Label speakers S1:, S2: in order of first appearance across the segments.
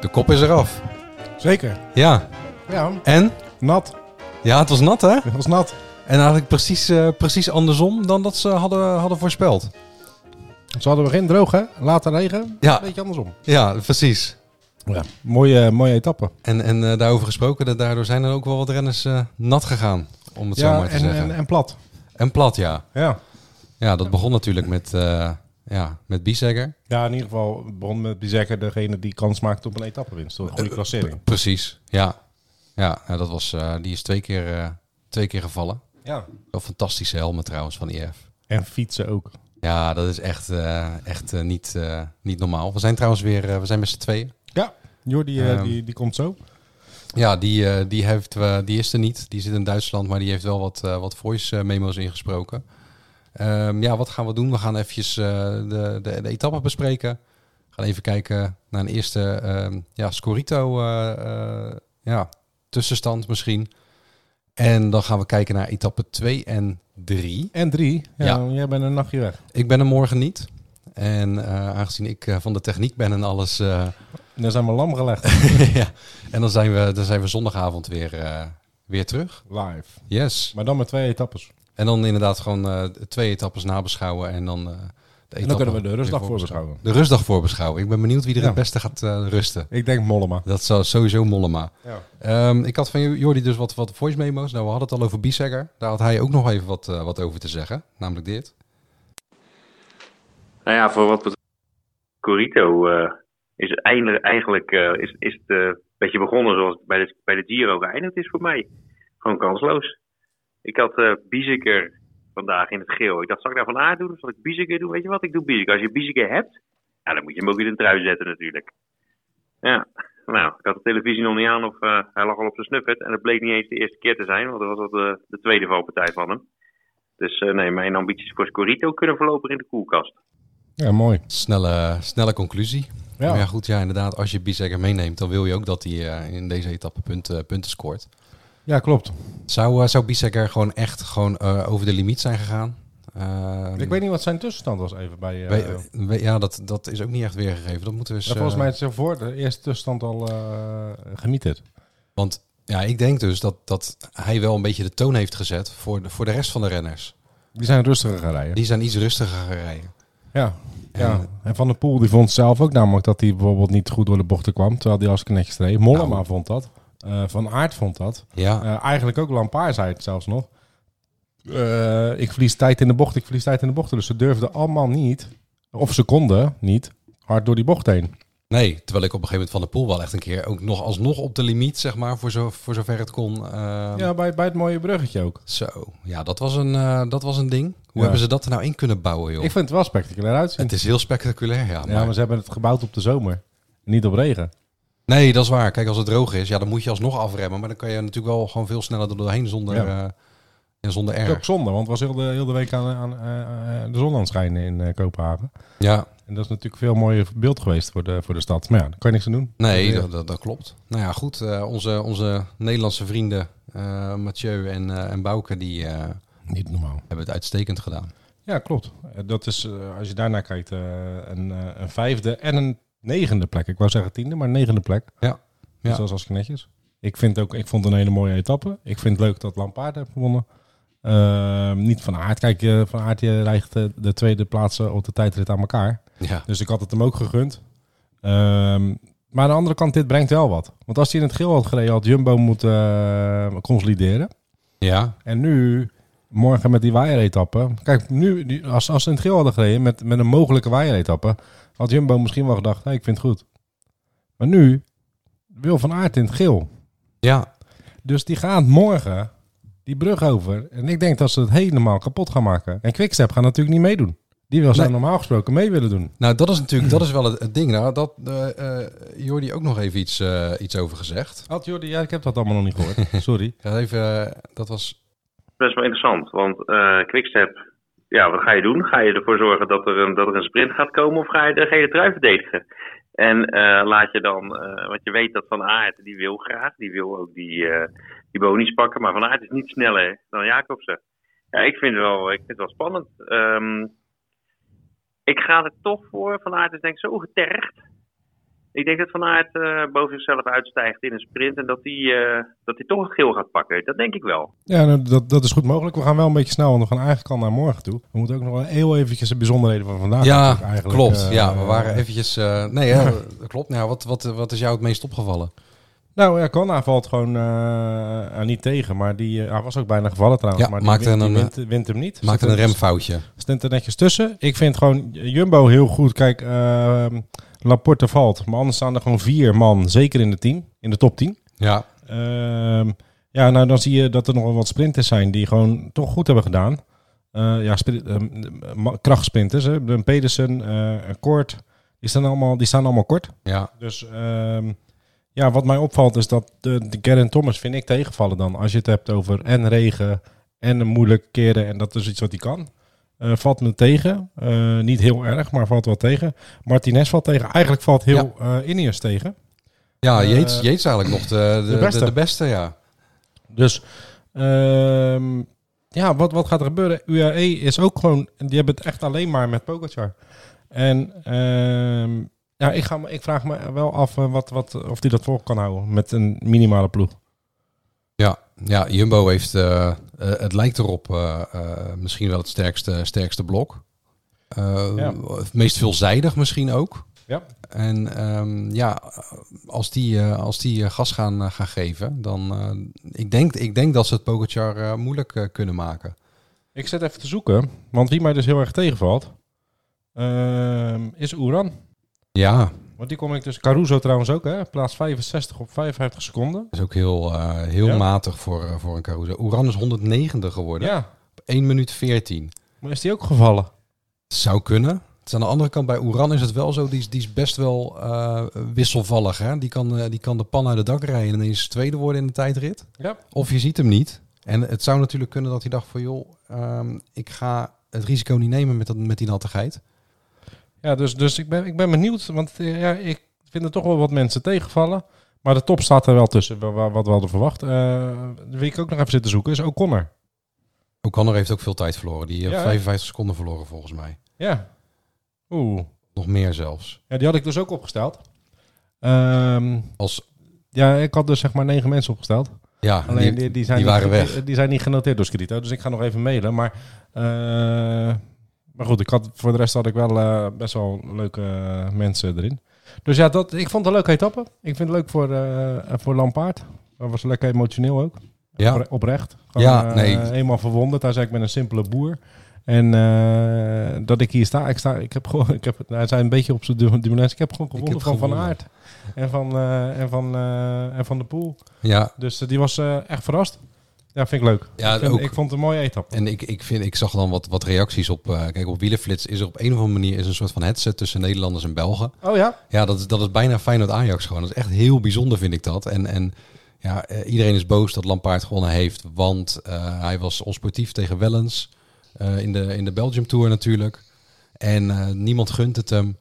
S1: De kop is eraf.
S2: Zeker.
S1: Ja,
S2: Ja,
S1: en?
S2: nat.
S1: Ja, het was nat hè?
S2: Het was nat.
S1: En eigenlijk precies, eh, precies andersom dan dat ze hadden, hadden voorspeld.
S2: Ze hadden begin droog, hè? Later regen.
S1: Ja.
S2: Een beetje andersom.
S1: Ja, precies.
S2: Ja. Mooie, eh, mooie etappe.
S1: En, en eh, daarover gesproken, dat daardoor zijn er ook wel wat renners eh, nat gegaan, om het zo maar te
S2: en,
S1: zeggen.
S2: en,
S1: En,
S2: en plat.
S1: plat, ja.
S2: Ja.
S1: Ja, dat begon natuurlijk met, eh ja, met Biesegger.
S2: Ja, in ieder geval het begon met Bizekker degene die kans maakte op een etappenwinst. Een goede klassering.
S1: Precies, ja. Ja, nou, dat was, eh, die is twee keer, eh, twee keer gevallen.
S2: Ja.
S1: Wel fantastische helmen trouwens van IF.
S2: En fietsen ook.
S1: Ja, dat is echt, eh, echt eh, niet, eh, niet normaal. We zijn trouwens weer, eh, we zijn met z'n tweeën.
S2: Ja. Jordi, eh,
S1: Ehm.
S2: die, die komt zo.
S1: Ja, die, eh, die, heeft, eh, die is er niet. Die zit in Duitsland, maar die heeft wel wat, eh, wat voice-memo's ingesproken. Ehm, ja, wat gaan we doen? We gaan eventjes eh, de, de, de etappe bespreken. We gaan even kijken naar een eerste ehm, ja, Scorito eh, eh, ja, tussenstand misschien. En dan gaan we kijken naar etappe 2 en 3.
S2: En drie. Ja,
S1: Ja.
S2: Jij bent een nachtje weg.
S1: Ik ben er morgen niet. En eh, aangezien ik eh, van de techniek ben en alles... eh,
S2: En dan zijn we lam gelegd.
S1: ja. En dan zijn, we, dan zijn we zondagavond weer, eh, weer terug.
S2: Live.
S1: Yes.
S2: Maar dan met twee etappes.
S1: En dan inderdaad gewoon eh, twee etappes nabeschouwen en dan eh, de
S2: en dan
S1: etappe
S2: kunnen we de rustdag
S1: weer
S2: voorbeschouwen.
S1: De rustdag voorbeschouwen. Ik ben benieuwd wie er
S2: Ja.
S1: het beste gaat eh, rusten.
S2: Ik denk Mollema.
S1: Dat zou sowieso Mollema.
S2: Ja.
S1: Ehm, ik had van Jordi dus wat, wat voice memo's. Nou, we hadden het al over Biesegger. Daar had hij ook nog even wat, eh, wat over te zeggen. Namelijk dit.
S3: Nou ja, voor wat betreft Corito eh, is het einde- eigenlijk eh, is, is het, eh, een beetje begonnen zoals het bij de, bij de Giro geëindigd is voor mij. Gewoon kansloos. Ik had eh Biezeker vandaag in het geel. Ik dacht, zal ik daar van aard doen of zal ik Biezeker doen? Weet je wat, ik doe Biezeker. Als je Biezeker hebt, ja, dan moet je hem ook in een trui zetten natuurlijk. Ja, nou, ik had de televisie nog niet aan of eh, hij lag al op zijn snuffert. En dat bleek niet eens de eerste keer te zijn, want dat was al de, de tweede valpartij van hem. Dus eh, nee, mijn ambities voor Scorito kunnen voorlopig in de koelkast.
S2: Ja, mooi.
S1: Snelle, snelle conclusie. Ja.
S2: Ja.
S1: Maar ja, goed. Ja, inderdaad. Als je Biesegger meeneemt, dan wil je ook dat hij eh, in deze etappe punten, eh, punten scoort.
S2: ja, klopt.
S1: Zou, eh, zou Biesegger gewoon echt gewoon, eh, over de limiet zijn gegaan? Ehm,
S2: Ik weet niet wat zijn tussenstand was even bij... eh,
S1: We- we- ja, dat, dat is ook niet echt weergegeven. Dat moeten we eens,
S2: Ja, volgens
S1: eh,
S2: mij is er voor de eerste tussenstand al eh gemieterd.
S1: Want ja, ik denk dus dat, dat hij wel een beetje de toon heeft gezet voor de, voor de rest van de renners.
S2: Die zijn rustiger gaan rijden.
S1: Die zijn iets rustiger gaan rijden.
S2: Ja. ja.
S1: En-
S2: En Van der Poel die vond zelf ook namelijk dat hij bijvoorbeeld niet goed door de bochten kwam. Terwijl hij als netjes streed. Mollema
S1: Nou.
S2: vond dat. Eh, van Aert vond dat.
S1: Ja,
S2: Eh, eigenlijk ook Lampaard zei het zelfs nog. Eh, ik verlies tijd in de bocht, ik verlies tijd in de bochten. Dus ze durfden allemaal niet, of ze konden niet, hard door die bocht heen.
S1: nee. Terwijl ik op een gegeven moment van de pool wel echt een keer ook nog alsnog op de limiet, zeg maar, voor, zo, voor zover het kon. ehm,
S2: Ja, bij, bij het mooie bruggetje ook.
S1: Zo, ja, dat was een, eh, dat was een ding. Hoe
S2: Ja.
S1: hebben ze dat er nou in kunnen bouwen, joh?
S2: Ik vind het wel spectaculair uitzien.
S1: Het is heel spectaculair, ja.
S2: Ja,
S1: maar-
S2: maar ze hebben het gebouwd op de zomer. Niet op regen.
S1: Nee, dat is waar. Kijk, als het droog is, ja, dan moet je alsnog afremmen. Maar dan kan je natuurlijk wel gewoon veel sneller er doorheen zonder,
S2: Ja.
S1: eh, ja, zonder
S2: Dat is
S1: erg.
S2: ook zonde, want het was heel de, heel de week aan, aan eh, eh, de zon aan het schijnen in eh, Kopenhagen.
S1: Ja,
S2: En dat is natuurlijk veel mooier beeld geweest voor de, voor de stad. Maar ja, daar kan je niks aan doen.
S1: Nee,
S2: Ja.
S1: dat, dat, dat klopt. Nou ja, goed. eh, onze, onze Nederlandse vrienden eh, Mathieu en, eh, en Bouke die, eh,
S2: Niet normaal.
S1: hebben het uitstekend gedaan.
S2: Ja, klopt. Eh, Dat is, eh, als je daarnaar kijkt, eh, een, eh, een vijfde en een negende plek. Ik wou zeggen tiende, maar een negende plek.
S1: Ja. Ja.
S2: Dus dat is als netjes. Ik, vind ook, ik vond het een hele mooie etappe. Ik vind het leuk dat Lampaard heeft gewonnen. Ehm, niet van aard. Kijk, eh, van aard eh, rijgt eh, de tweede plaatsen op de tijdrit aan elkaar.
S1: Ja,
S2: Dus ik had het hem ook gegund. Ehm, maar aan de andere kant, dit brengt wel wat. Want als hij in het geel had gereden, had Jumbo moeten eh, consolideren.
S1: ja,
S2: En nu, morgen met die waaieretappe. Kijk, nu, die- als, als ze in het geel hadden gereden met, met een mogelijke waaieretappe, had Jumbo misschien wel gedacht, hey, ik vind het goed. Maar nu wil Van Aert in het geel.
S1: ja.
S2: Dus die gaat morgen die brug over. En ik denk dat ze het helemaal kapot gaan maken. En Quickstep gaat natuurlijk niet meedoen. Die wil ze
S1: Nee.
S2: normaal gesproken mee willen doen.
S1: Nou, dat is natuurlijk dat is wel het, het ding. Nou, dat eh, eh, Jordi ook nog even iets, eh, iets over gezegd.
S2: Had Jordi, ja, ik heb dat allemaal nog niet gehoord. Sorry.
S1: Ik ga even, eh, dat was.
S3: best wel interessant. Want eh Quickstep, ja, wat ga je doen? Ga je ervoor zorgen dat er een, dat er een sprint gaat komen of ga je de gele trui verdedigen? En eh, laat je dan, eh, want je weet dat Van Aert, die wil graag, die wil ook die, eh die bonies pakken. Maar Van Aert is niet sneller dan Jacobsen. Ja, ik vind het wel, ik vind het wel spannend. Ehm, ik ga er toch voor. Van Aert is denk ik zo getergd. Ik denk dat Van Aert eh, boven zichzelf uitstijgt in een sprint en dat hij eh, dat hij toch het geel gaat pakken. Dat denk ik wel.
S2: Ja, nou, dat, dat is goed mogelijk. We gaan wel een beetje snel, want we gaan eigenlijk al naar morgen toe. We moeten ook nog wel heel eventjes de bijzonderheden van vandaag.
S1: Ja,
S2: natuurlijk Ah, eigenlijk,
S1: klopt.
S2: eh,
S1: ja, we waren
S2: eh,
S1: eventjes. eh, nee, ja, dat klopt. Nou, wat, wat, wat is jou het meest opgevallen?
S2: Nou ja, Kona valt gewoon eh, eh, niet tegen, maar die, eh, hij was ook bijna gevallen trouwens.
S1: Ja,
S2: maar die
S1: maakte
S2: wint, die
S1: een, eh,
S2: wint, wint hem niet.
S1: Maakte
S2: Zit
S1: een
S2: er-
S1: remfoutje.
S2: Stint er netjes tussen. Ik vind gewoon Jumbo heel goed. Kijk, ehm, Laporte valt, maar anders staan er gewoon vier man, zeker in de team, in de top 10.
S1: Ja,
S2: Ehm, ja, nou dan zie je dat er nog wel wat sprinters zijn die gewoon toch goed hebben gedaan. Eh, ja, spri- ehm, ma- krachtsprinters. Hè. Een Pedersen, eh, een Kort. Die staan allemaal, die staan allemaal kort.
S1: ja.
S2: Dus ehm, ja, wat mij opvalt is dat de, de Geraint Thomas vind ik tegenvallen dan. Als je het hebt over en regen en een moeilijke keren en dat is iets wat hij kan. Eh, valt me tegen. Eh, niet heel erg, maar valt wel tegen. Martinez valt tegen. Eigenlijk valt heel eh Ineos tegen.
S1: Ja,
S2: Eh,
S1: Jeets, Jeets eigenlijk nog de, de, de,
S2: beste.
S1: de, beste, ja.
S2: Dus ehm, ja, wat, wat gaat er gebeuren? UAE is ook gewoon... Die hebben het echt alleen maar met Pogacar. En ehm, ja, ik, ga, me- ik vraag me wel af eh, wat, wat, of die dat vol kan houden met een minimale ploeg.
S1: Ja, ja Jumbo heeft, eh, eh, het lijkt erop, eh, eh, misschien wel het sterkste, sterkste blok. Eh,
S2: Ja.
S1: Het meest veelzijdig misschien ook.
S2: Ja.
S1: En ehm, ja, als die, eh, als die eh, gas gaan, eh, gaan geven, dan eh, ik denk ik denk dat ze het Pogacar eh, moeilijk eh, kunnen maken.
S2: Ik zit even te zoeken, want wie mij dus heel erg tegenvalt, ehm, is Oeran.
S1: Ja,
S2: Want die kom ik dus, Caruso trouwens ook, hè? plaats 65 op 55 seconden.
S1: is ook heel, eh, heel
S2: Ja.
S1: matig voor, eh, voor een Caruso. Oeran is 190 geworden,
S2: Ja,
S1: op 1 minuut 14.
S2: maar is die ook gevallen?
S1: Zou kunnen. Het is aan de andere kant, bij Oeran is het wel zo, die is, die is best wel eh, wisselvallig. Hè? Die, kan, eh, die kan de pan uit het dak rijden en ineens tweede worden in de tijdrit.
S2: Ja.
S1: Of je ziet hem niet. En het zou natuurlijk kunnen dat hij dacht van, joh, ehm, ik ga het risico niet nemen met, dat, met die nattigheid.
S2: Ja, dus, dus ik, ben, ik ben benieuwd, want eh, ja, ik vind er toch wel wat mensen tegenvallen. Maar de top staat er wel tussen, wa- wa- wat we hadden verwacht. Eh, wie ik ook nog even zitten zoeken, is O'Connor.
S1: O'Connor heeft ook veel tijd verloren. Die heeft
S2: Ja, hè?
S1: 55 seconden verloren volgens mij.
S2: Ja. Oeh.
S1: Nog meer zelfs.
S2: Ja, die had ik dus ook opgesteld. Ehm,
S1: Als,
S2: ja, ik had dus zeg maar negen mensen opgesteld.
S1: ja,
S2: Alleen
S1: die-
S2: die, die zijn
S1: die waren
S2: niet,
S1: weg.
S2: Die, die zijn niet genoteerd door Scrito, dus ik ga nog even mailen. Maar, eh, maar goed, ik had, voor de rest had ik wel eh, best wel leuke eh, mensen erin. Dus ja, dat, ik vond het een leuke etappe. Ik vind het leuk voor, eh, eh, voor Lampaard. Dat was lekker emotioneel ook.
S1: ja,
S2: Opre- Oprecht.
S1: Ja,
S2: eh,
S1: nee.
S2: Helemaal verwonderd. Hij zei, ik ben een simpele boer. En eh, dat ik hier sta, ik, sta, ik heb gewoon, ik heb, nou, hij zei een beetje op zijn du- dubbelens, ik heb gewoon gewonnen
S1: heb
S2: van Van
S1: gewonnen.
S2: Aert en van, eh, en, van, eh, en van de Poel.
S1: ja,
S2: Dus eh, die was eh, echt verrast. Ja, vind ik leuk.
S1: Ja,
S2: ik, vind-
S1: ook.
S2: ik vond het een mooie etappe.
S1: En ik, ik, vind, ik zag dan wat, wat reacties op. eh, kijk, op Wielenflits is er op een of andere manier is een soort van headset tussen Nederlanders en Belgen.
S2: Oh ja?
S1: Ja, dat is, dat is bijna Feyenoord Ajax gewoon. Dat is echt heel bijzonder, vind ik dat. En, en ja, eh, iedereen is boos dat Lampaard gewonnen heeft. Want eh, hij was onsportief tegen Wellens. eh, in, de, in de Belgium Tour natuurlijk. En eh, niemand gunt het hem.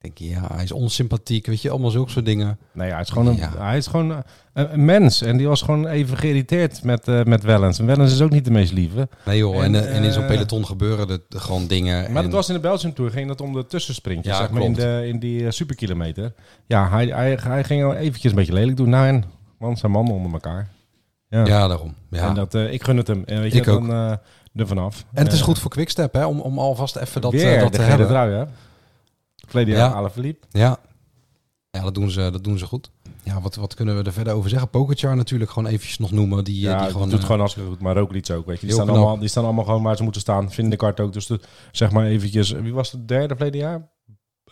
S1: Ik denk, ja, hij is onsympathiek. Weet je, allemaal zulke soort dingen.
S2: Nee, hij is gewoon, een,
S1: Ja.
S2: hij is gewoon eh, een, een mens. En die was gewoon even geïrriteerd met, eh, met Wellens. En Wellens is ook niet de meest lieve.
S1: Nee joh, en,
S2: En,
S1: eh, en in zo'n
S2: eh,
S1: peloton gebeuren er gewoon dingen.
S2: Maar
S1: en,
S2: dat was in de Belgium Tour. Ging dat om de tussensprintjes,
S1: Ja,
S2: zeg maar, in,
S1: klopt.
S2: de, in die eh, superkilometer. Ja, hij, hij, hij ging al eventjes een beetje lelijk doen. Nou en, man zijn man onder elkaar. Ja,
S1: Ja, daarom. Ja.
S2: En dat, eh, ik gun het hem. En weet je,
S1: Ik ook.
S2: dan eh er vanaf.
S1: En het is
S2: Eh,
S1: goed voor Quickstep, hè, om, om alvast even dat, eh,
S2: weer
S1: dat
S2: de
S1: te
S2: gele
S1: hebben.
S2: trui, hè? Verleden
S1: Ja.
S2: jaar Alaphilippe.
S1: Ja, ja dat, doen ze, dat doen ze goed. Ja, wat, wat kunnen we er verder over zeggen? Pokerchar natuurlijk gewoon eventjes nog noemen. Die, eh,
S2: Ja,
S1: die
S2: het
S1: gewoon,
S2: doet
S1: eh,
S2: gewoon hartstikke goed. Maar Roglic ook, weet je. Die
S1: Heel
S2: staan,
S1: knap.
S2: allemaal, die staan allemaal gewoon waar ze moeten staan. Vindekaart ook. Dus de- zeg maar eventjes... Wie was de derde verleden jaar?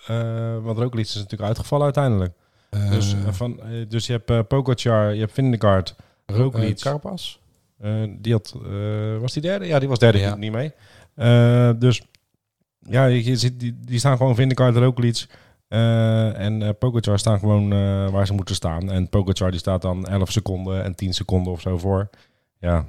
S2: Eh want Roglic is natuurlijk uitgevallen uiteindelijk.
S1: eh,
S2: dus, eh, van, eh, dus je hebt eh Pogacar, je hebt Vindekaart,
S1: Ro- eh,
S2: Roglic.
S1: Carapaz?
S2: Eh, die had, eh, was die derde? Ja, die was derde.
S1: Ja.
S2: Die doet niet mee. Eh, dus ja, je, je ziet, die, die staan gewoon Vindekaart, Roglic eh en eh Pogacar staan gewoon eh, waar ze moeten staan. En Pogacar die staat dan 11 seconden en 10 seconden of zo voor. Ja,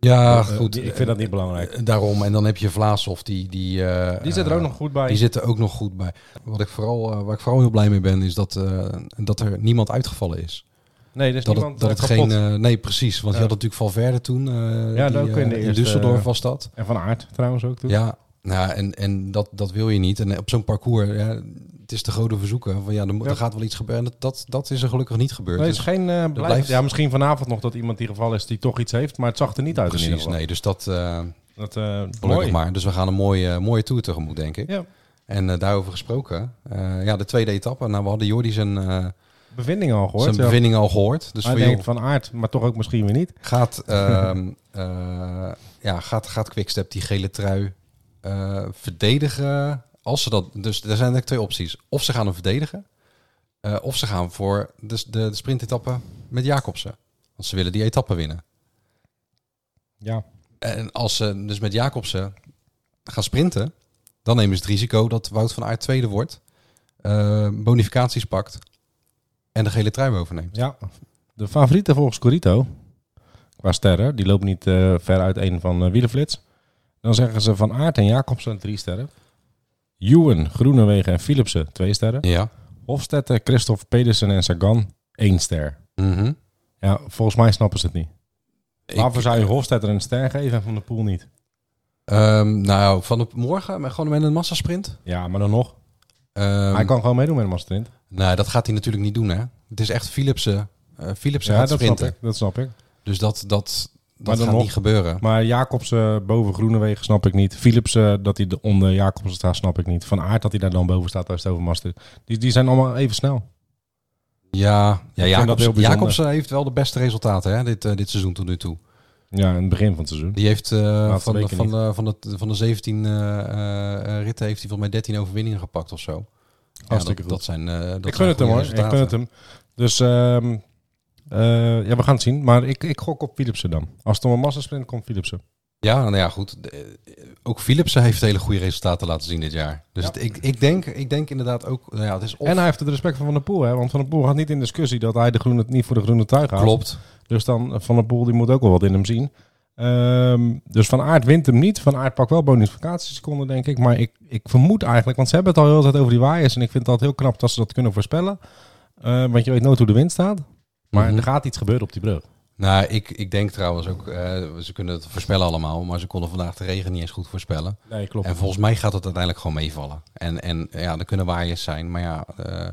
S1: Ja,
S2: eh,
S1: goed.
S2: die- ik vind dat niet belangrijk.
S1: Eh, Daarom. En dan heb je Vlaashoff, die... Die, eh,
S2: Die zit er
S1: eh,
S2: ook nog goed bij.
S1: Die zitten ook nog goed bij. Wat ik vooral, eh, waar ik vooral heel blij mee ben, is dat, eh, dat er niemand uitgevallen is.
S2: nee, dus
S1: dat
S2: niemand
S1: het, dat
S2: eh,
S1: het
S2: kapot.
S1: geen. eh, nee, precies. Want
S2: Ja.
S1: je had natuurlijk Valverde toen. eh
S2: Ja,
S1: die,
S2: ook in
S1: eh,
S2: de eerste-
S1: Düsseldorf was dat.
S2: En Van Aert trouwens ook. Toen.
S1: Ja, nou, ja, en, en dat, dat wil je niet. En eh, op zo'n parcours, ja, het is te grote verzoeken. Van, ja, er, mo-
S2: Ja.
S1: er gaat wel iets gebeuren. En Dat, dat, dat is er gelukkig niet gebeurd.
S2: Nee, het
S1: Dus-
S2: is geen eh beleid.
S1: blijft-
S2: Ja, misschien vanavond nog dat iemand die geval is die toch iets heeft, maar het zag er niet uit in ieder
S1: precies,
S2: geval.
S1: nee. Dus dat, eh,
S2: Dat, eh
S1: gelukkig
S2: mooi.
S1: maar. Dus we gaan een mooie, mooie tour tegemoet, denk ik.
S2: Ja.
S1: En eh, daarover gesproken, eh, ja, de tweede etappe. Nou, we hadden Jordi zijn, eh,
S2: Bevinding al gehoord.
S1: zijn
S2: ja. Ah,
S1: bevinding al gehoord. Dus
S2: Hij
S1: voor jou
S2: denkt van aard, maar toch ook misschien weer niet.
S1: gaat, ehm, eh, ja, gaat, gaat Quickstep die gele trui eh, verdedigen? Als ze dat, dus er zijn eigenlijk twee opties. Of ze gaan hem verdedigen, eh, of ze gaan voor de, de, de sprintetappe met Jacobsen. Want ze willen die etappe winnen.
S2: Ja.
S1: En als ze dus met Jacobsen gaan sprinten, dan nemen ze het risico dat Wout van Aert tweede wordt, eh, bonificaties pakt en de gele trui overneemt.
S2: ja. De favoriete volgens Corito, qua sterren, die loopt niet eh, ver uit een van eh Wielenflits. Dan zeggen ze van Aert en Jacobsen drie sterren. Ewan, Groenewegen en Philipsen twee sterren.
S1: Ja.
S2: Hofstetter, Christophe Pedersen en Sagan één ster.
S1: Mhm.
S2: Ja, volgens mij snappen ze het niet.
S1: Ik-
S2: Waarvoor zou je Hofstetter een ster geven en Van de Poel niet?
S1: Ehm, nou, van op morgen, maar gewoon met een massasprint.
S2: Ja, maar dan nog.
S1: Ehm,
S2: hij kan gewoon meedoen met een masterprint.
S1: Nou, dat gaat hij natuurlijk niet doen, hè. Het is echt Philipsen. eh Philipsen
S2: Ja,
S1: gaat
S2: dat snap,
S1: sprinten.
S2: ik, dat snap ik.
S1: Dus dat, dat,
S2: Maar
S1: dat
S2: dan
S1: gaat
S2: nog.
S1: niet gebeuren.
S2: Maar Jacobsen boven Groenewegen snap ik niet. Philipsen dat hij de- onder Jacobsen staat snap ik niet. Van Aert dat hij daar dan boven staat als het over master. Die, die zijn allemaal even snel.
S1: Ja, ja
S2: vind dat heel
S1: Jacobsen,
S2: bijzonder.
S1: Jacobsen heeft wel de beste resultaten hè, dit, eh, dit seizoen tot nu toe.
S2: Ja, in het begin van het seizoen.
S1: Die heeft eh, van, de,
S2: weken
S1: van,
S2: niet.
S1: de, van, de, van de 17 eh, eh, ritten heeft hij volgens mij 13 overwinningen gepakt of zo. Ja, dat,
S2: Hartstikke goed.
S1: dat zijn eh dat
S2: ik gun
S1: zijn
S2: het hem
S1: goede
S2: hoor. Ik gun het hem. Dus ehm, eh, ja, we gaan het zien. Maar ik, ik gok op Philipsen dan. Als het om een massasprint komt, Philipsen.
S1: Ja, nou ja, goed. De- eh, Ook Philipsen heeft hele goede resultaten laten zien dit jaar. Dus
S2: Ja.
S1: het- ik, ik, denk, ik denk inderdaad ook... Nou ja, het is of-
S2: En hij heeft het respect van Van der Poel. Hè? Want Van der Poel gaat niet in discussie dat hij de groene, niet voor de groene tuig gaat.
S1: klopt.
S2: Dus dan eh, Van der Poel die moet ook wel wat in hem zien. Ehm, dus Van Aert wint hem niet. Van Aert pakt wel bonificatieseconden, denk ik. Maar ik, ik vermoed eigenlijk, want ze hebben het al heel de tijd over die waaiers. En ik vind het altijd heel knap dat ze dat kunnen voorspellen. Eh, want je weet nooit hoe de wind staat. Maar
S1: Mhm.
S2: er gaat iets gebeuren op die brug.
S1: Nou, ik, ik denk trouwens ook... eh, ze kunnen het voorspellen allemaal, maar ze konden vandaag de regen niet eens goed voorspellen.
S2: Nee, klopt.
S1: En volgens mij gaat het uiteindelijk gewoon meevallen. En, en ja, er kunnen waaiers zijn. Maar ja, eh,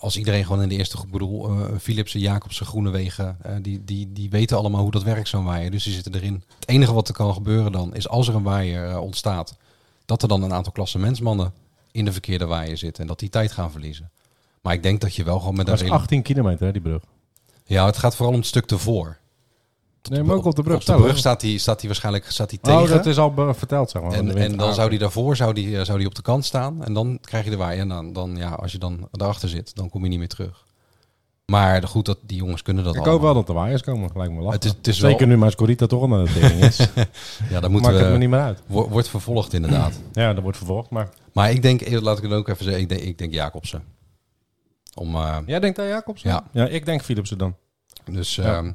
S1: als iedereen gewoon in de eerste groep... bedoel, eh, Philipsen, Jacobsen, Groenewegen... eh die, die, die weten allemaal hoe dat werkt, zo'n waaier. Dus die zitten erin. Het enige wat er kan gebeuren dan... is als er een waaier eh, ontstaat... dat er dan een aantal klassementsmannen... in de verkeerde waaier zitten. En dat die tijd gaan verliezen. Maar ik denk dat je wel gewoon met een...
S2: Dat is
S1: redelijk-
S2: 18 kilometer, hè, die brug.
S1: Ja, het gaat vooral om het stuk ervoor.
S2: Nee, maar ook op de brug.
S1: Op de
S2: staan,
S1: brug
S2: hoor.
S1: staat hij staat die waarschijnlijk staat die
S2: Oh,
S1: tegen.
S2: dat is al be- verteld, zeg maar. van de
S1: En,
S2: wind.
S1: en dan
S2: Ah,
S1: zou die daarvoor zou die, eh, zou die op de kant staan. En dan krijg je de waaier. En dan, dan, ja, als je dan daarachter zit, dan kom je niet meer terug. Maar de- goed, dat, die jongens kunnen dat
S2: Ik hoop
S1: allemaal.
S2: wel dat de waaiers komen, gelijk me lachen.
S1: Het is, het is
S2: Zeker
S1: wel,
S2: nu maar Scorita toch al naar de tering is.
S1: ja, daar
S2: Maakt
S1: moeten
S2: het me
S1: we,
S2: niet meer uit.
S1: wo- wordt vervolgd inderdaad.
S2: Ja, dat wordt vervolgd, maar...
S1: maar ik denk, eh, laat ik het ook even zeggen, ik denk, ik denk Jacobsen. Om, eh,
S2: Jij denkt aan Jacobsen?
S1: Ja.
S2: ja, ik denk Philipsen dan.
S1: dus
S2: Ja.
S1: ehm,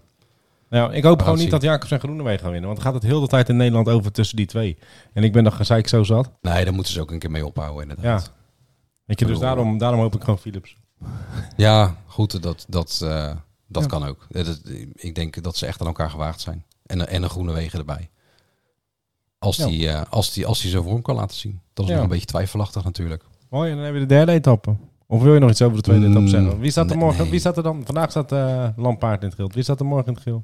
S2: Nou, ik hoop
S1: We gaan
S2: gewoon niet
S1: zien.
S2: dat Jacobs en Groenewegen gaan winnen. Want dan gaat het heel de tijd in Nederland over tussen die twee. En ik ben nog gezeik zo zat.
S1: nee, daar moeten ze ook een keer mee ophouden
S2: Ja.
S1: inderdaad.
S2: Weet je, dus
S1: Bedoel-
S2: daarom, daarom hoop ik gewoon Philips.
S1: Ja, goed, dat, dat, eh, dat
S2: Ja.
S1: kan ook. Eh, dat- ik denk dat ze echt aan elkaar gewaagd zijn. En, en een groene wegen erbij. Als,
S2: Ja.
S1: die, eh, als, die, als die zijn vorm kan laten zien. Dat is
S2: Ja.
S1: nog een beetje twijfelachtig natuurlijk.
S2: Mooi, en dan hebben we de derde etappe. Of wil je nog iets over de tweede
S1: Mm,
S2: etappe zeggen? Wie staat er
S1: nee,
S2: morgen?
S1: nee.
S2: Wie staat er dan? Vandaag staat eh Lampaard in het geel. Wie staat er morgen in het geel?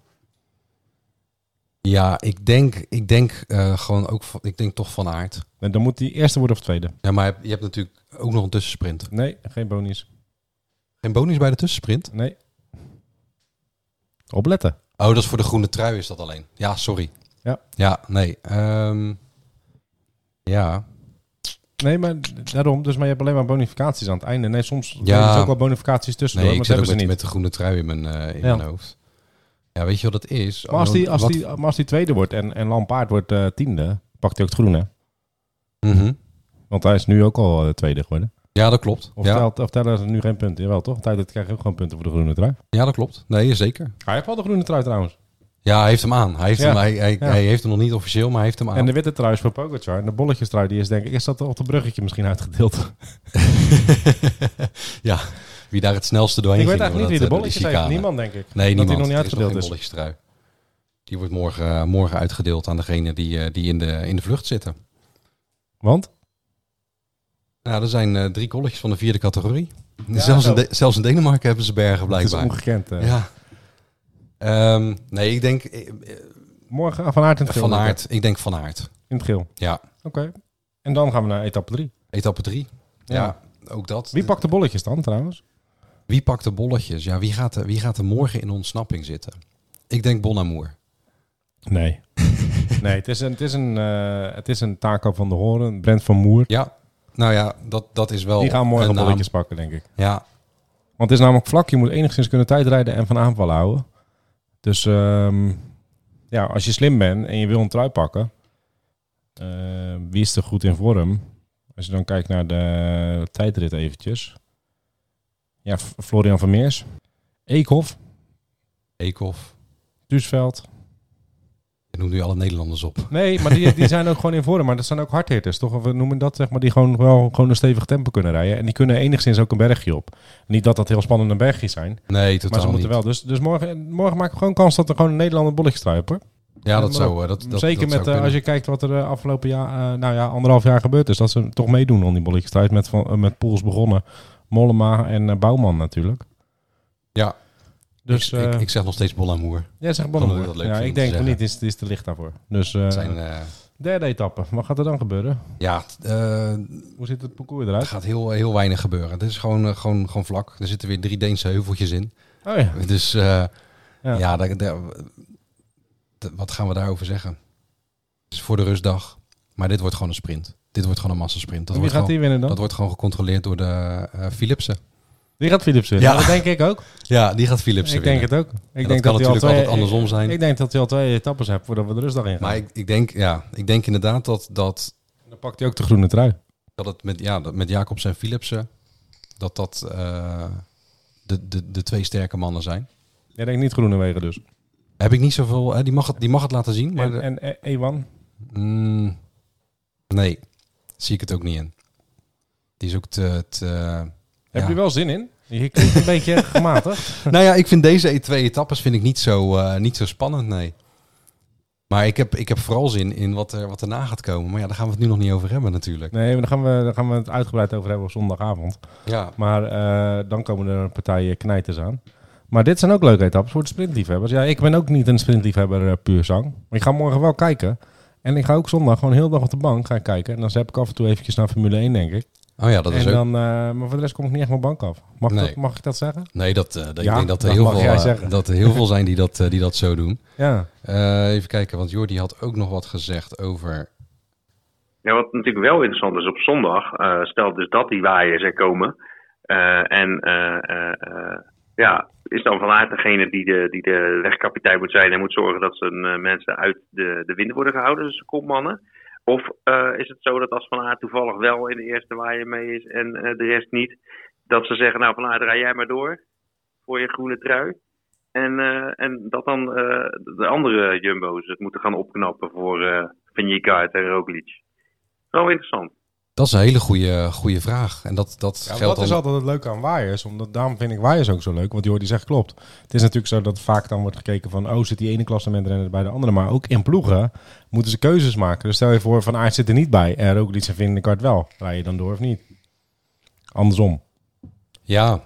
S1: Ja, ik denk, ik denk eh, gewoon ook van, ik denk toch van aard.
S2: En dan moet die eerste worden of tweede.
S1: Ja, maar je hebt, je hebt natuurlijk ook nog een tussensprint.
S2: Nee, geen bonies.
S1: Geen bonus bij de tussensprint?
S2: Nee. Opletten.
S1: Oh, dat is voor de groene trui is dat alleen. Ja, sorry.
S2: Ja.
S1: Ja, nee. Ehm, ja.
S2: Nee, maar daarom. Dus maar je hebt alleen maar bonificaties aan het einde. Nee, soms
S1: Ja.
S2: ja. er ook wel bonificaties tussendoor.
S1: Nee, ik
S2: maar
S1: zit
S2: dat
S1: ook
S2: hebben ze
S1: met,
S2: niet.
S1: met de groene trui in mijn, eh, in
S2: Ja.
S1: mijn hoofd. Ja, weet je wat het is? Oh,
S2: Maar als die, als
S1: Wat-
S2: die, maar als die tweede wordt en, en Lampaard wordt eh, tiende, pakt hij ook het groene.
S1: Mhm.
S2: Want hij is nu ook al eh, tweede geworden.
S1: Ja, dat klopt.
S2: Of,
S1: ja.
S2: telt, of tellen ze nu geen punten? Jawel, toch? Tijdelijk krijg je ook gewoon punten voor de groene trui.
S1: ja, dat klopt. Nee, zeker.
S2: Hij heeft al de groene trui trouwens.
S1: Ja, hij heeft hem aan. Hij heeft,
S2: Ja.
S1: hem, hij, hij,
S2: Ja.
S1: hij heeft hem nog niet officieel, maar hij heeft hem aan.
S2: En de witte trui is voor Pogacar. En de bolletjes trui die is denk ik, is dat op een bruggetje misschien uitgedeeld?
S1: ja, wie daar het snelste doorheen
S2: ik weet
S1: ging.
S2: eigenlijk niet
S1: hoor,
S2: wie de
S1: dat, eh,
S2: bolletjes
S1: is
S2: heeft.
S1: Chicane.
S2: Niemand denk ik.
S1: Nee,
S2: Dat
S1: niemand.
S2: die nog niet
S1: Er is nog
S2: uitgedeeld
S1: geen
S2: is.
S1: bolletjestrui. Die wordt morgen, eh, morgen uitgedeeld aan degene die, eh, die in, de, in de vlucht zitten.
S2: Want?
S1: Nou, er zijn eh, drie colleges van de vierde categorie.
S2: Ja,
S1: zelfs, in
S2: zo.
S1: De- zelfs in Denemarken hebben ze bergen
S2: Het is
S1: blijkbaar.
S2: ongekend. eh.
S1: ja. Ehm, nee, ik denk eh, eh,
S2: Morgen van aard in het geel.
S1: Van Aert. Ik denk Van Aert.
S2: In het geel.
S1: Ja.
S2: Oké. En dan gaan we naar etappe 3.
S1: Etappe drie. Ja,
S2: Ja.
S1: ook dat.
S2: Wie pakt de bolletjes dan trouwens?
S1: Wie pakt de bolletjes? Ja, wie gaat, er- wie gaat er morgen in ontsnapping zitten? Ik denk Bonamour.
S2: Nee. nee, het is, een, het, is een, eh, het is een Taco van de Horen, Brent van Moer.
S1: Ja, nou ja, dat, dat is wel
S2: Die gaan morgen
S1: een naam.
S2: bolletjes pakken, denk ik.
S1: Ja,
S2: Want het is namelijk vlak. Je moet enigszins kunnen tijdrijden en van aanvallen houden. Dus ehm, ja, als je slim bent en je wil een trui pakken, eh, wie is er goed in vorm? Als je dan kijkt naar de tijdrit eventjes. Ja, F- Florian Vermeers, Eekhof,
S1: Eekhoff.
S2: Duisveld.
S1: Je noemt nu alle Nederlanders op.
S2: Nee, maar die, die zijn ook gewoon in vorm. Maar dat zijn ook hardhitters, toch? Of We noemen dat, zeg maar, die gewoon wel gewoon een stevig tempo kunnen rijden. En die kunnen enigszins ook een bergje op. Niet dat dat heel spannende bergjes zijn.
S1: Nee, totaal
S2: maar ze moeten
S1: niet.
S2: wel. Dus, dus morgen, morgen maken we gewoon kans dat er gewoon een Nederlander bolletje struipen.
S1: Ja, dat
S2: maar
S1: zou... eh, Dat, dat,
S2: Zeker
S1: dat
S2: met,
S1: zou
S2: eh, als
S1: kunnen.
S2: je kijkt wat er eh, afgelopen jaar, eh, nou ja, anderhalf jaar gebeurd is. Dat ze toch meedoen aan die bolletjesstrijd. Met, van- eh, met Pools begonnen, Mollema en eh, Bouwman natuurlijk.
S1: Ja.
S2: Dus
S1: ik, ik,
S2: eh,
S1: ik zeg nog steeds Bonamour.
S2: ja, zeg
S1: dat
S2: Bonnemoer.
S1: leuk vinden
S2: Ja,
S1: om
S2: ik
S1: te
S2: denk van
S1: zeggen.
S2: niet, het is, het is te licht daarvoor. Dus eh,
S1: Het zijn... eh,
S2: derde etappe, wat gaat er dan gebeuren?
S1: ja, t- eh,
S2: Hoe ziet het parcours
S1: er
S2: eruit?
S1: gaat heel, heel weinig gebeuren. Het is gewoon, eh, gewoon, gewoon vlak. Er zitten weer drie Deense heuveltjes in.
S2: Oh ja,
S1: Dus eh,
S2: Ja.
S1: ja, daar, daar- d- wat gaan we daarover zeggen? Het is voor de rustdag. Maar dit wordt gewoon een sprint. Dit wordt gewoon een massasprint. Dat
S2: En wie
S1: wordt
S2: gaat
S1: gewoon,
S2: die winnen dan?
S1: dat wordt gewoon gecontroleerd door de eh, Philipsen.
S2: Die gaat Philips winnen.
S1: Ja.
S2: Dat denk ik ook.
S1: Ja, die gaat Philipsen
S2: Ik denk
S1: winnen.
S2: het ook. Ik
S1: dat
S2: denk
S1: kan
S2: dat hij al
S1: natuurlijk
S2: twee-
S1: altijd andersom zijn.
S2: Ik denk dat hij al twee etappes hebt voordat we de rustdag in gaan.
S1: Maar ik, ik, denk, ja, ik denk inderdaad dat, dat,
S2: Dan pakt hij ook de groene trui.
S1: dat het met, ja, dat met Jacobs en Philipsen... dat dat eh, de, de, de twee sterke mannen zijn.
S2: Jij denkt niet Groenewegen dus.
S1: Heb ik niet zoveel... Hè, die, mag het, die mag het laten zien, maar... de-
S2: en en eh, Ewan?
S1: Mm, nee, zie ik het ook niet in. Die eh, is ook te... te
S2: Heb
S1: ja.
S2: je wel zin in? Je klinkt een beetje gematigd.
S1: Nou ja, ik vind deze twee etappes vind ik niet, zo, eh, niet zo spannend, nee. Maar ik heb, ik heb vooral zin in wat, er, wat erna gaat komen. Maar ja, daar gaan we het nu nog niet over hebben natuurlijk.
S2: Nee, maar daar gaan, we, daar gaan we het uitgebreid over hebben op zondagavond.
S1: Ja,
S2: Maar eh, dan komen er partijen knijters aan. Maar dit zijn ook leuke etappes voor de sprintliefhebbers. Ja, ik ben ook niet een sprintliefhebber eh, puur zang. Maar ik ga morgen wel kijken. En ik ga ook zondag gewoon heel de dag op de bank gaan kijken. En dan heb ik af en toe eventjes naar Formule 1, denk ik.
S1: oh ja, dat
S2: en
S1: is ook...
S2: dan, eh, maar voor de rest kom ik niet echt mijn bank af. Mag,
S1: Nee.
S2: dat, mag ik dat zeggen?
S1: Nee, dat, eh, dat,
S2: Ja,
S1: ik denk dat er,
S2: dat
S1: heel
S2: mag
S1: veel,
S2: jij
S1: eh,
S2: zeggen.
S1: dat er heel veel zijn die dat, eh, die dat zo doen.
S2: Ja.
S1: Eh, even kijken, want Jordi had ook nog wat gezegd over...
S3: Ja, wat natuurlijk wel interessant is op zondag, eh, stelt dus dat die waaiers er komen. eh, en eh, eh, eh, ja, is dan vanuit degene die de, die de wegkapitein moet zijn en moet zorgen dat zijn eh, mensen uit de, de wind worden gehouden, dus de kopmannen. Of eh, is het zo dat als Van Aert toevallig wel in de eerste waaier mee is en eh, de rest niet, dat ze zeggen, nou Van Aert, rij jij maar door voor je groene trui. En, eh, en dat dan eh, de andere jumbo's het moeten gaan opknappen voor eh Van Jikaert en Roglic. Wel interessant.
S1: Dat is een hele goede, goede vraag. En dat, dat
S2: Ja,
S1: geldt
S2: dat is
S1: dan-
S2: altijd het leuke aan waaiers. Omdat daarom vind ik waaiers ook zo leuk. Want Jordi zegt klopt. Het is natuurlijk zo dat vaak dan wordt gekeken van... oh, zit die ene klassementrenner bij de andere. Maar ook in ploegen moeten ze keuzes maken. Dus stel je voor, Van Aert zit er niet bij. En ook iets vinden kart wel. Rij je dan door of niet? Andersom.
S1: Ja.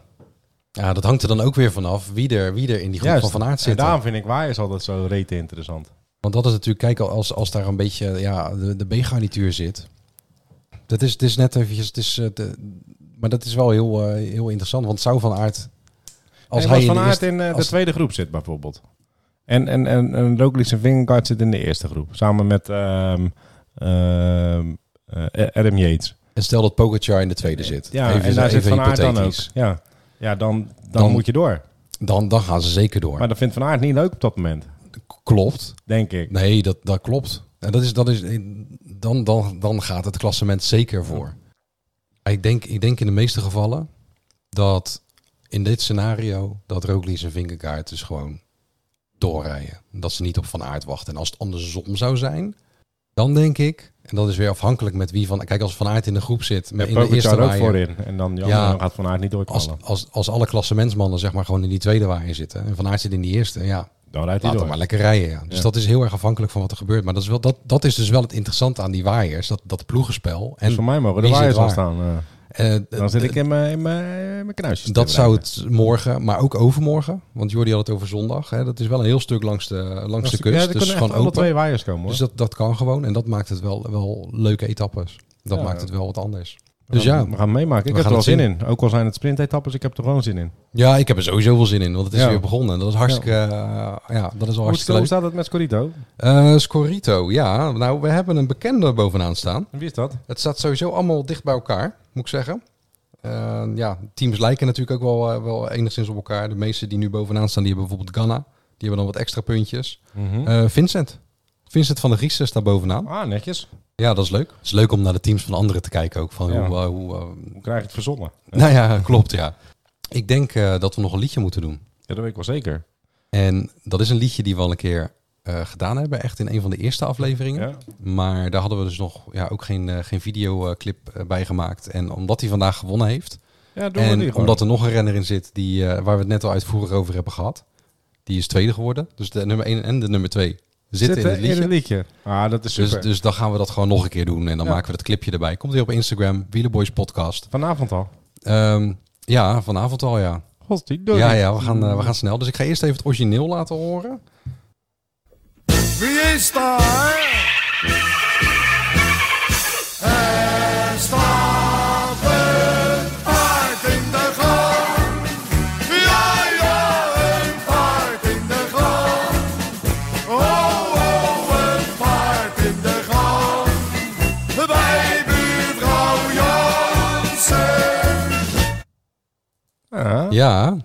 S1: ja, dat hangt er dan ook weer vanaf wie er, wie er in die groep van Van Aert
S2: En
S1: zit.
S2: daarom vind ik waaiers altijd zo rete interessant.
S1: Want dat is natuurlijk, kijk, als, als daar een beetje ja, de, de B-garnituur zit. Dat is, het is net eventjes, het is, eh, de- maar dat is wel heel, eh, heel interessant. Want zou Van Aert, als
S2: Als
S1: hij in
S2: Van
S1: de
S2: Aert
S1: eerste-
S2: in eh, de
S1: als-
S2: tweede groep zit bijvoorbeeld. En, en, en, en Roglic en Vingegaard zit in de eerste groep. Samen met ehm ehm, eh, Adam Yates.
S1: en stel dat Pogacar in de tweede zit.
S2: Ja,
S1: Even-
S2: en daar zit
S1: even
S2: Van Aert dan ook.
S1: hypothetisch.
S2: Ja, ja dan, dan,
S1: Dan-
S2: moet je door.
S1: dan, dan gaan ze zeker door.
S2: Maar dat vindt Van Aert niet leuk op dat moment,
S1: klopt.
S2: denk ik.
S1: Nee, dat, dat klopt. En dat is, dat is, dan, dan, dan gaat het klassement zeker voor. Ik denk, ik denk in de meeste gevallen dat in dit scenario dat Roglic en Vingegaard dus gewoon doorrijden. Dat ze niet op Van Aert wachten. En als het andersom zou zijn, dan denk ik, en dat is weer afhankelijk met wie van... Kijk, als Van Aard in de groep zit,
S2: Met
S1: met in de eerste
S2: Pogacar ook
S1: waaier,
S2: voorin. En dan die
S1: Ja.
S2: andere gaat Van Aert niet
S1: als,
S2: doorkomen.
S1: als, als alle klassementsmannen zeg maar gewoon in die tweede waaier zitten en Van Aert zit in die eerste, ja,
S2: Dan rijdt
S1: Laat
S2: hij
S1: hem
S2: door.
S1: maar lekker rijden. Ja. Dus
S2: Ja.
S1: dat is heel erg afhankelijk van wat er gebeurt. Maar dat is, wel, dat, dat is dus wel het interessante aan die waaiers. Dat, dat ploegenspel. En
S2: Dus voor mij mogen de
S1: wie zit
S2: waaiers al
S1: waar?
S2: staan. eh.
S1: eh, d-
S2: Dan zit
S1: d-
S2: ik in mijn- in mijn in mijn knuisjes. te
S1: dat zou
S2: breien.
S1: het morgen, maar ook overmorgen. Want Jordi had het over zondag. Hè. Dat is wel een heel stuk langs de, langs de kust.
S2: Ja, er
S1: dus
S2: kunnen echt
S1: gewoon
S2: alle
S1: open.
S2: twee waaiers komen hoor.
S1: Dus dat, dat kan gewoon. En dat maakt het wel, wel leuke etappes. Dat
S2: Ja.
S1: maakt het wel wat anders.
S2: We
S1: Dus
S2: gaan-
S1: ja.
S2: We gaan meemaken. Ik
S1: We
S2: heb er
S1: gaan
S2: wel
S1: het
S2: zin in. Ook al zijn het sprintetappes, ik heb er gewoon zin in.
S1: ja, ik heb er sowieso veel zin in. Want het is
S2: Ja.
S1: weer begonnen. En dat is hartstikke... eh, ja, dat is al
S2: Hoe,
S1: hartstikke
S2: hoe
S1: leuk.
S2: staat het met Scorito?
S1: Eh, Scorito, ja. Nou, we hebben een bekende bovenaan staan.
S2: Wie is dat?
S1: Het staat sowieso allemaal dicht bij elkaar, moet ik zeggen. Eh, ja, teams lijken natuurlijk ook wel, eh, wel enigszins op elkaar. De meeste die nu bovenaan staan, die hebben bijvoorbeeld Ghana. Die hebben dan wat extra puntjes.
S2: Hm.
S1: Eh, Vincent. Vincent van de Giezen staat bovenaan.
S2: Ah, netjes.
S1: Ja, dat is leuk. Het is leuk om naar de teams van anderen te kijken ook. Van
S2: Ja.
S1: hoe, eh, hoe, eh,
S2: Hoe krijg je het verzonnen?
S1: nou ja, klopt ja. Ik denk eh, dat we nog een liedje moeten doen.
S2: Ja, dat weet ik wel zeker.
S1: En dat is een liedje die we al een keer eh, gedaan hebben. Echt in een van de eerste afleveringen.
S2: Ja.
S1: Maar daar hadden we dus nog ja, ook geen, eh, geen videoclip eh, bij gemaakt. En omdat hij vandaag gewonnen heeft.
S2: Ja, doen we die
S1: en
S2: gewoon.
S1: omdat er nog een renner in zit die, eh, waar we het net al uitvoerig over hebben gehad. Die is tweede geworden. Dus de nummer 1 en de nummer 2 zitten, in het liedje.
S2: Ah, dat is
S1: dus,
S2: super.
S1: dus dan gaan we dat gewoon nog een keer doen. En dan
S2: Ja.
S1: maken we dat clipje erbij. Komt weer op Instagram, Wielerboys Podcast.
S2: Vanavond al.
S1: Ehm, ja, vanavond al ja.
S2: Oh, Godverdomme.
S1: Ja, ja, we gaan, eh, we gaan snel. Dus ik ga eerst even het origineel laten horen.
S4: Wie is daar? Er staat een paard in de gang. Ja, ja, een paard in de gang. Oh, oh, een paard in de gang. Bij buurvrouw Jansen.
S2: Ah, Ja,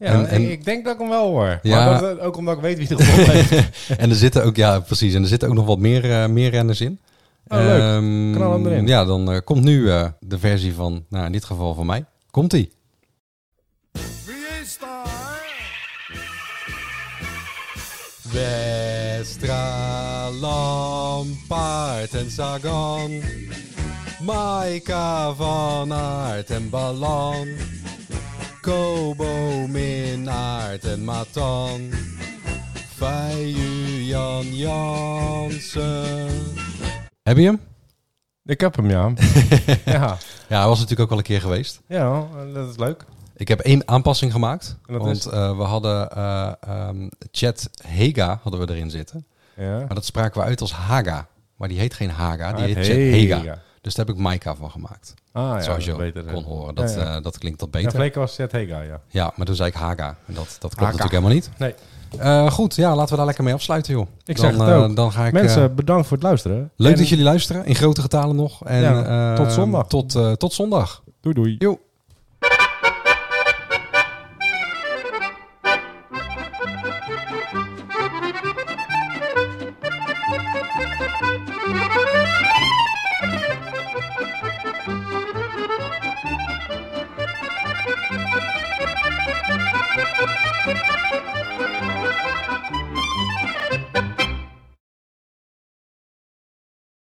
S1: Ja. en-
S2: ik-
S1: en-
S2: ik denk dat ik hem wel hoor.
S1: Ja.
S2: Maar dat, eh, ook omdat ik weet wie er gewonnen heeft.
S1: En er zitten ook, ja, precies. En er zitten ook nog wat meer, eh, meer renners in.
S2: Oh, leuk.
S1: Ehm,
S2: Knal hem erin.
S1: Ja, dan eh, komt nu eh, de versie van, nou in dit geval van mij. Komt die?
S4: Wie is daar?
S1: Westra, Lampaard en Sagan. Maika van Aert en Balan. Kobo, Minnaert en Matan. Feiju, Jan Jansen. Heb je hem?
S2: ik heb hem, ja. ja.
S1: Ja, hij was natuurlijk ook al een keer geweest.
S2: Ja, dat is leuk.
S1: Ik heb één aanpassing gemaakt.
S2: En dat
S1: want
S2: is?
S1: eh, we hadden eh ehm, Chet Hega hadden we erin zitten.
S2: Ja.
S1: Maar dat spraken we uit als Haga. Maar die heet geen Haga, Ah, die
S2: Ah,
S1: heet
S2: het
S1: Chet
S2: Hega.
S1: Hega. Dus daar heb ik Maika van gemaakt.
S2: Ah, ja,
S1: Zoals je
S2: dat is beter,
S1: kon
S2: hè.
S1: horen. Dat,
S2: Ja, ja.
S1: eh, dat klinkt dat
S2: Ja,
S1: beter. Ja,
S2: Flake was Zet Hega, ja.
S1: maar toen zei ik Haga. En dat, dat klopt
S2: Haga.
S1: natuurlijk helemaal niet.
S2: Nee.
S1: Eh, goed, ja, laten we daar lekker mee afsluiten, joh. dan,
S2: Ik zeg het
S1: eh,
S2: ook.
S1: dan ga ik... eh,
S2: Mensen, bedankt voor het luisteren.
S1: leuk
S2: En
S1: dat jullie luisteren, in grote getalen nog. En,
S2: Ja,
S1: eh,
S2: tot zondag.
S1: Tot, eh, tot zondag.
S2: Doei doei.
S1: Joe.